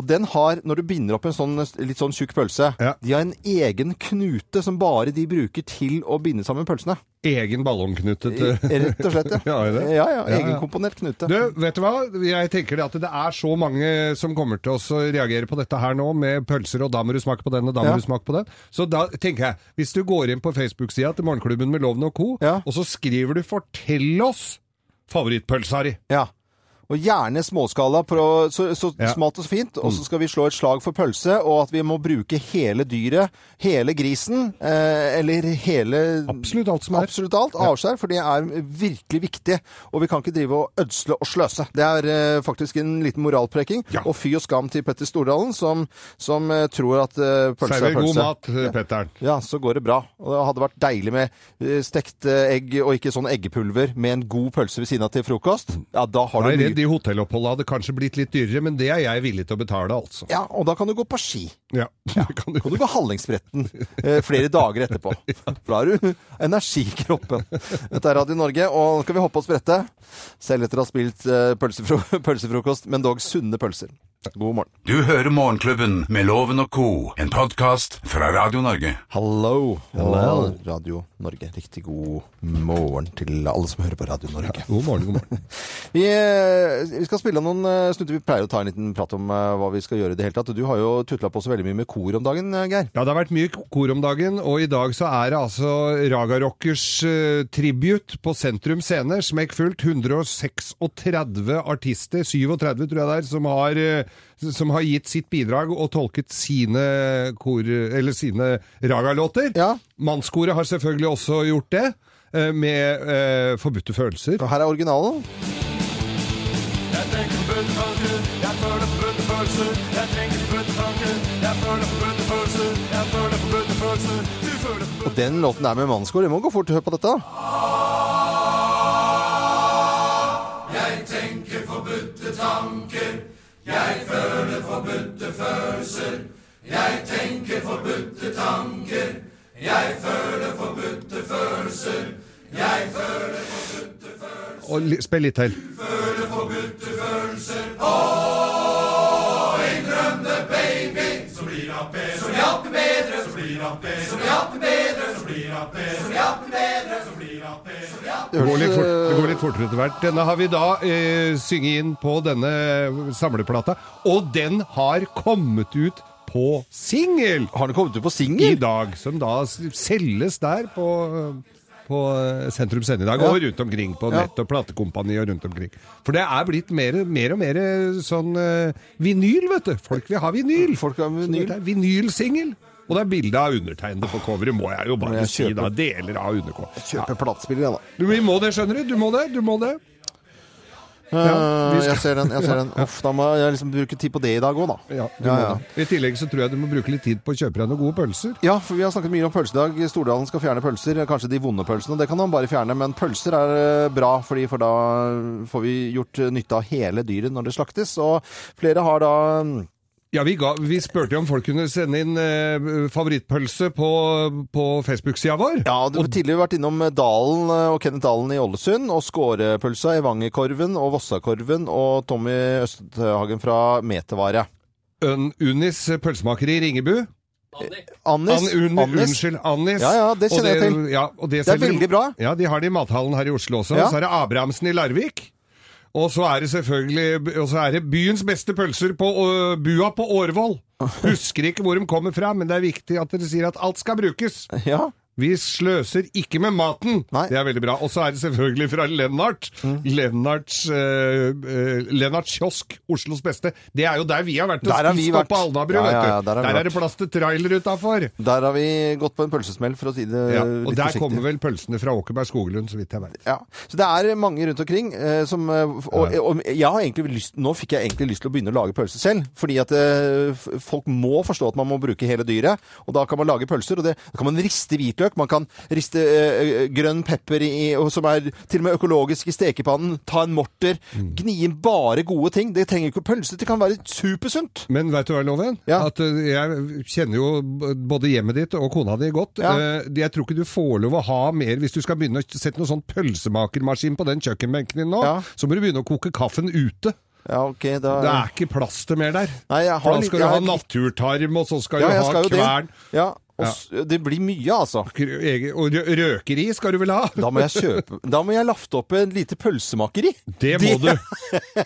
S2: Og den har, når du binder opp en sånn litt sånn tjukk pølse, de har en egen knute som bare de bruker til å binde sammen pølsene.
S3: Egen ballongknute til
S2: Rett og slett, ja.
S3: er det?
S2: Ja, ja, egenkomponert knute.
S3: Du, vet du hva? Jeg tenker det at det er så mange som kommer til oss å reagere på dette her nå, med pølser, og da må du smake på den, og da må
S2: Ja.
S3: du smake på den. Så da tenker jeg, hvis du går inn på Facebook-sida til Morgenklubben med Loven og Co., og så skriver du 'Fortell oss favorittpølsa di'.
S2: Ja. Og gjerne småskala, pro- så, så smalt og så fint.
S3: Mm.
S2: Og så skal vi slå et slag for pølse, og at vi må bruke hele dyret, hele grisen, eh, eller hele
S3: Absolutt alt som er.
S2: Absolutt alt. Avskjær, for det er virkelig viktig. Og vi kan ikke drive og ødsle og sløse. Det er eh, faktisk en liten moralpreking. Og fy og skam til Petter Stordalen, som, som eh, tror at eh, pølse
S3: Server
S2: er pølse.
S3: god mat, eh, Petteren.
S2: Ja, så går det bra. Og det hadde vært deilig med eh, stekt eh, egg og ikke sånn eggepulver med en god pølse ved siden av til
S3: Mm.
S2: frokost. Ja, da har
S3: Da er
S2: du
S3: jeg
S2: mye.
S3: redd de hotelloppholdene hadde kanskje blitt litt dyrere, men det er jeg villig til å betale, altså.
S2: Ja, og da kan du gå på ski.
S3: Ja. Kan du,
S2: gå Hallingsbretten eh, flere dager etterpå. For da har du energikroppen. Dette er Radio Norge, og nå skal vi hoppe og sprette. Selv etter å ha spilt eh, pølsefro pølsefrokost, men dog sunne pølser. God morgen.
S1: Du hører Morgenklubben med Loven og Co., en podkast fra Radio Norge.
S2: Hallo. Og Radio Norge. Riktig god morgen til alle som hører på Radio Norge.
S3: god morgen, god morgen.
S2: Vi, eh, vi skal spille noen eh, snutter. Vi pleier å ta en liten prat om eh, hva vi skal gjøre i det hele tatt. Du har jo tutla på så veldig mye med kor om dagen, eh, Geir.
S3: Ja, det har vært mye kor om dagen, og i dag så er det altså Raga Rockers eh, tribute på Sentrum Scene. Smekkfullt. 136 artister, 37 tror jeg det er, som har, eh, som har gitt sitt bidrag og tolket sine kor... Eller sine Raga-låter. Mannskoret har selvfølgelig også gjort det, eh, med eh, Forbudte følelser.
S2: Og her er originalen.
S7: Jeg tenker forbudte tanker, jeg føler forbudte følelser. Jeg tenker forbudte tanker, jeg føler forbudte følelser. Jeg føler forbudte følelser, du føler
S2: Og den låten er med mannskor. Det må gå fort å høre på dette. da.
S7: Jeg tenker forbudte tanker, jeg føler forbudte følelser. Jeg tenker forbudte tanker, jeg føler forbudte følelser. Jeg føler forbudte følelser,
S3: Og li- spill litt til.
S7: føler forbudte følelser. Åh, en drømmende baby som blir han bedre, som hjelper bedre, som blir han bedre, som hjelper bedre, som blir han bedre, som hjelper bedre, som blir han bedre, som hjelper
S3: Det går litt, fort, det går litt fortere etter hvert. Denne har vi da eh, synget inn på denne samleplata, og den har kommet ut på singel!
S2: Har den kommet ut på singel?
S3: I dag, som da s- selges der på, på eh, Sentrum Scene i dag,
S2: Ja.
S3: og rundt omkring på
S2: Ja.
S3: nett og platekompani og rundt omkring. For det er blitt mer, mer og mer eh, sånn eh, vinyl, vet du. Folk vil ha vinyl.
S2: Folk har vinyl.
S3: Vinylsingel. Og det er bilde av undertegnede på coveret, må jeg jo bare
S2: jeg
S3: si. da,
S2: kjøper-
S3: Deler av underkåpen.
S2: Kjøpe platespiller, jeg, da.
S3: Du, vi må det, skjønner du. Du må det. du må det.
S2: Eh,
S3: vi skal-
S2: Jeg ser den. jeg ser den. Uff, da må jeg liksom bruke tid på det i dag òg, da.
S3: Ja, du
S2: Ja,
S3: må
S2: ja.
S3: det. I tillegg så tror jeg du må bruke litt tid på å kjøpe deg noen gode pølser.
S2: Ja, for vi har snakket mye om pølsedag. Stordalen skal fjerne pølser, kanskje de vonde pølsene. Det kan han bare fjerne, men pølser er eh, bra, fordi for da får vi gjort eh, nytte av hele dyret når det slaktes. Og flere har da mm,
S3: Ja, Vi, ga, vi spurte jo om folk kunne sende inn eh, favorittpølse på, på Facebook-sida vår.
S2: ja, Du har tidligere vært innom eh, Dalen eh, og Kenneth Dalen i Ålesund, og Skårepølsa, Evangerkorven og Vossakorven og Tommy Østhagen fra Metervare.
S3: Un, Unis pølsemaker i Ringebu.
S2: Annis.
S3: An, un,
S2: Annis.
S3: Unnskyld, Annis.
S2: Ja, ja, det
S3: Og
S2: kjenner jeg til.
S3: Ja, og det,
S2: Det er
S3: selger de-
S2: veldig bra.
S3: Ja, De har det i mathallen her i Oslo også.
S2: Ja.
S3: Så er det Abrahamsen i Larvik. Og så er det selvfølgelig og så er det byens beste pølser på øh, bua på Årvoll. Husker ikke hvor de kommer fra, men det er viktig at dere sier at alt skal brukes.
S2: Ja.
S3: Vi sløser ikke med maten. Det er veldig bra. Og så er det selvfølgelig fra Lennart.
S2: Mm.
S3: Lennarts, øh, øh, Lennarts kiosk, Oslos beste. Det er jo der vi har vært og
S2: Der har vi
S3: spist opp
S2: vært.
S3: på Alnabru.
S2: Ja,
S3: vet
S2: ja,
S3: du.
S2: ja, der har vi
S3: der
S2: vært.
S3: er det plass til trailer utafor.
S2: Der har vi gått på en pølsesmell, for å si det
S3: Ja,
S2: litt
S3: og der
S2: forsiktig.
S3: kommer vel pølsene fra Åkerberg Skoglund, så vidt jeg vet.
S2: Ja. Så det er mange rundt omkring eh, som eh, og, og jeg har egentlig lyst, Nå fikk jeg egentlig lyst til å begynne å lage pølser selv. Fordi at eh, f- folk må forstå at man må bruke hele dyret. Og da kan man lage pølser. Og det, da kan man riste hvitløk. strøk. Man kan riste eh, grønn pepper i, og som er til og med økologisk i stekepannen. Ta en morter. Gni inn bare gode ting. Det trenger ikke pølse. Det kan være supersunt.
S3: Men veit du hva, Loven? At eh, jeg kjenner jo b- både hjemmet ditt og kona di godt.
S2: Ja.
S3: Eh, Jeg tror ikke du får lov å ha mer hvis du skal begynne å sette noen sånn pølsemakermaskin på den kjøkkenbenken din nå. Så må du begynne å koke kaffen ute.
S2: Ja, ok, da...
S3: Det er ikke plass til mer der.
S2: Nei, jeg har
S3: For da
S2: litt-
S3: skal du
S2: jeg
S3: ha
S2: har
S3: naturtarm, og så skal
S2: Ja,
S3: du
S2: jeg
S3: ha
S2: skal jo det.
S3: kvern.
S2: Ja, og s- det blir mye, altså.
S3: Og rø- røkeri skal du vel ha?
S2: Da må jeg kjøpe Da må jeg lafte opp en lite pølsemakeri.
S3: Det må du.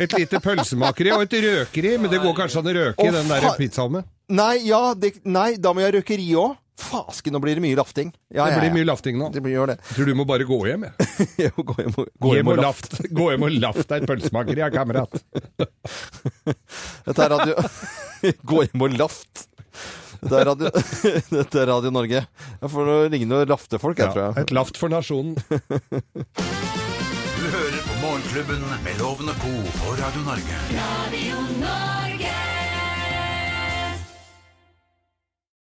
S3: Et lite pølsemakeri og et røkeri, men det går kanskje an å røke i
S2: Å,
S3: den der
S2: fa-
S3: pizzaovnen.
S2: Nei, ja, det, nei, da må jeg ha røkeri òg. Fasken, nå blir det mye lafting. Ja,
S3: Det
S2: ja,
S3: blir
S2: ja.
S3: mye lafting nå.
S2: Det blir, gjør det.
S3: Jeg tror du må bare gå hjem, jeg.
S2: gå hjem og,
S3: Gå hjem og laft. Gå hjem og laft deg et pølsemakeri, ja, kamerat.
S2: Dette er radio Gå hjem og laft. Dette er radio, Dette er radio Norge. Jeg får ringe noen laftefolk, jeg, tror jeg.
S3: Et laft for nasjonen.
S1: Du hører på Morgenklubben med Loven og Co. på Radio Norge.
S7: Radio Norge.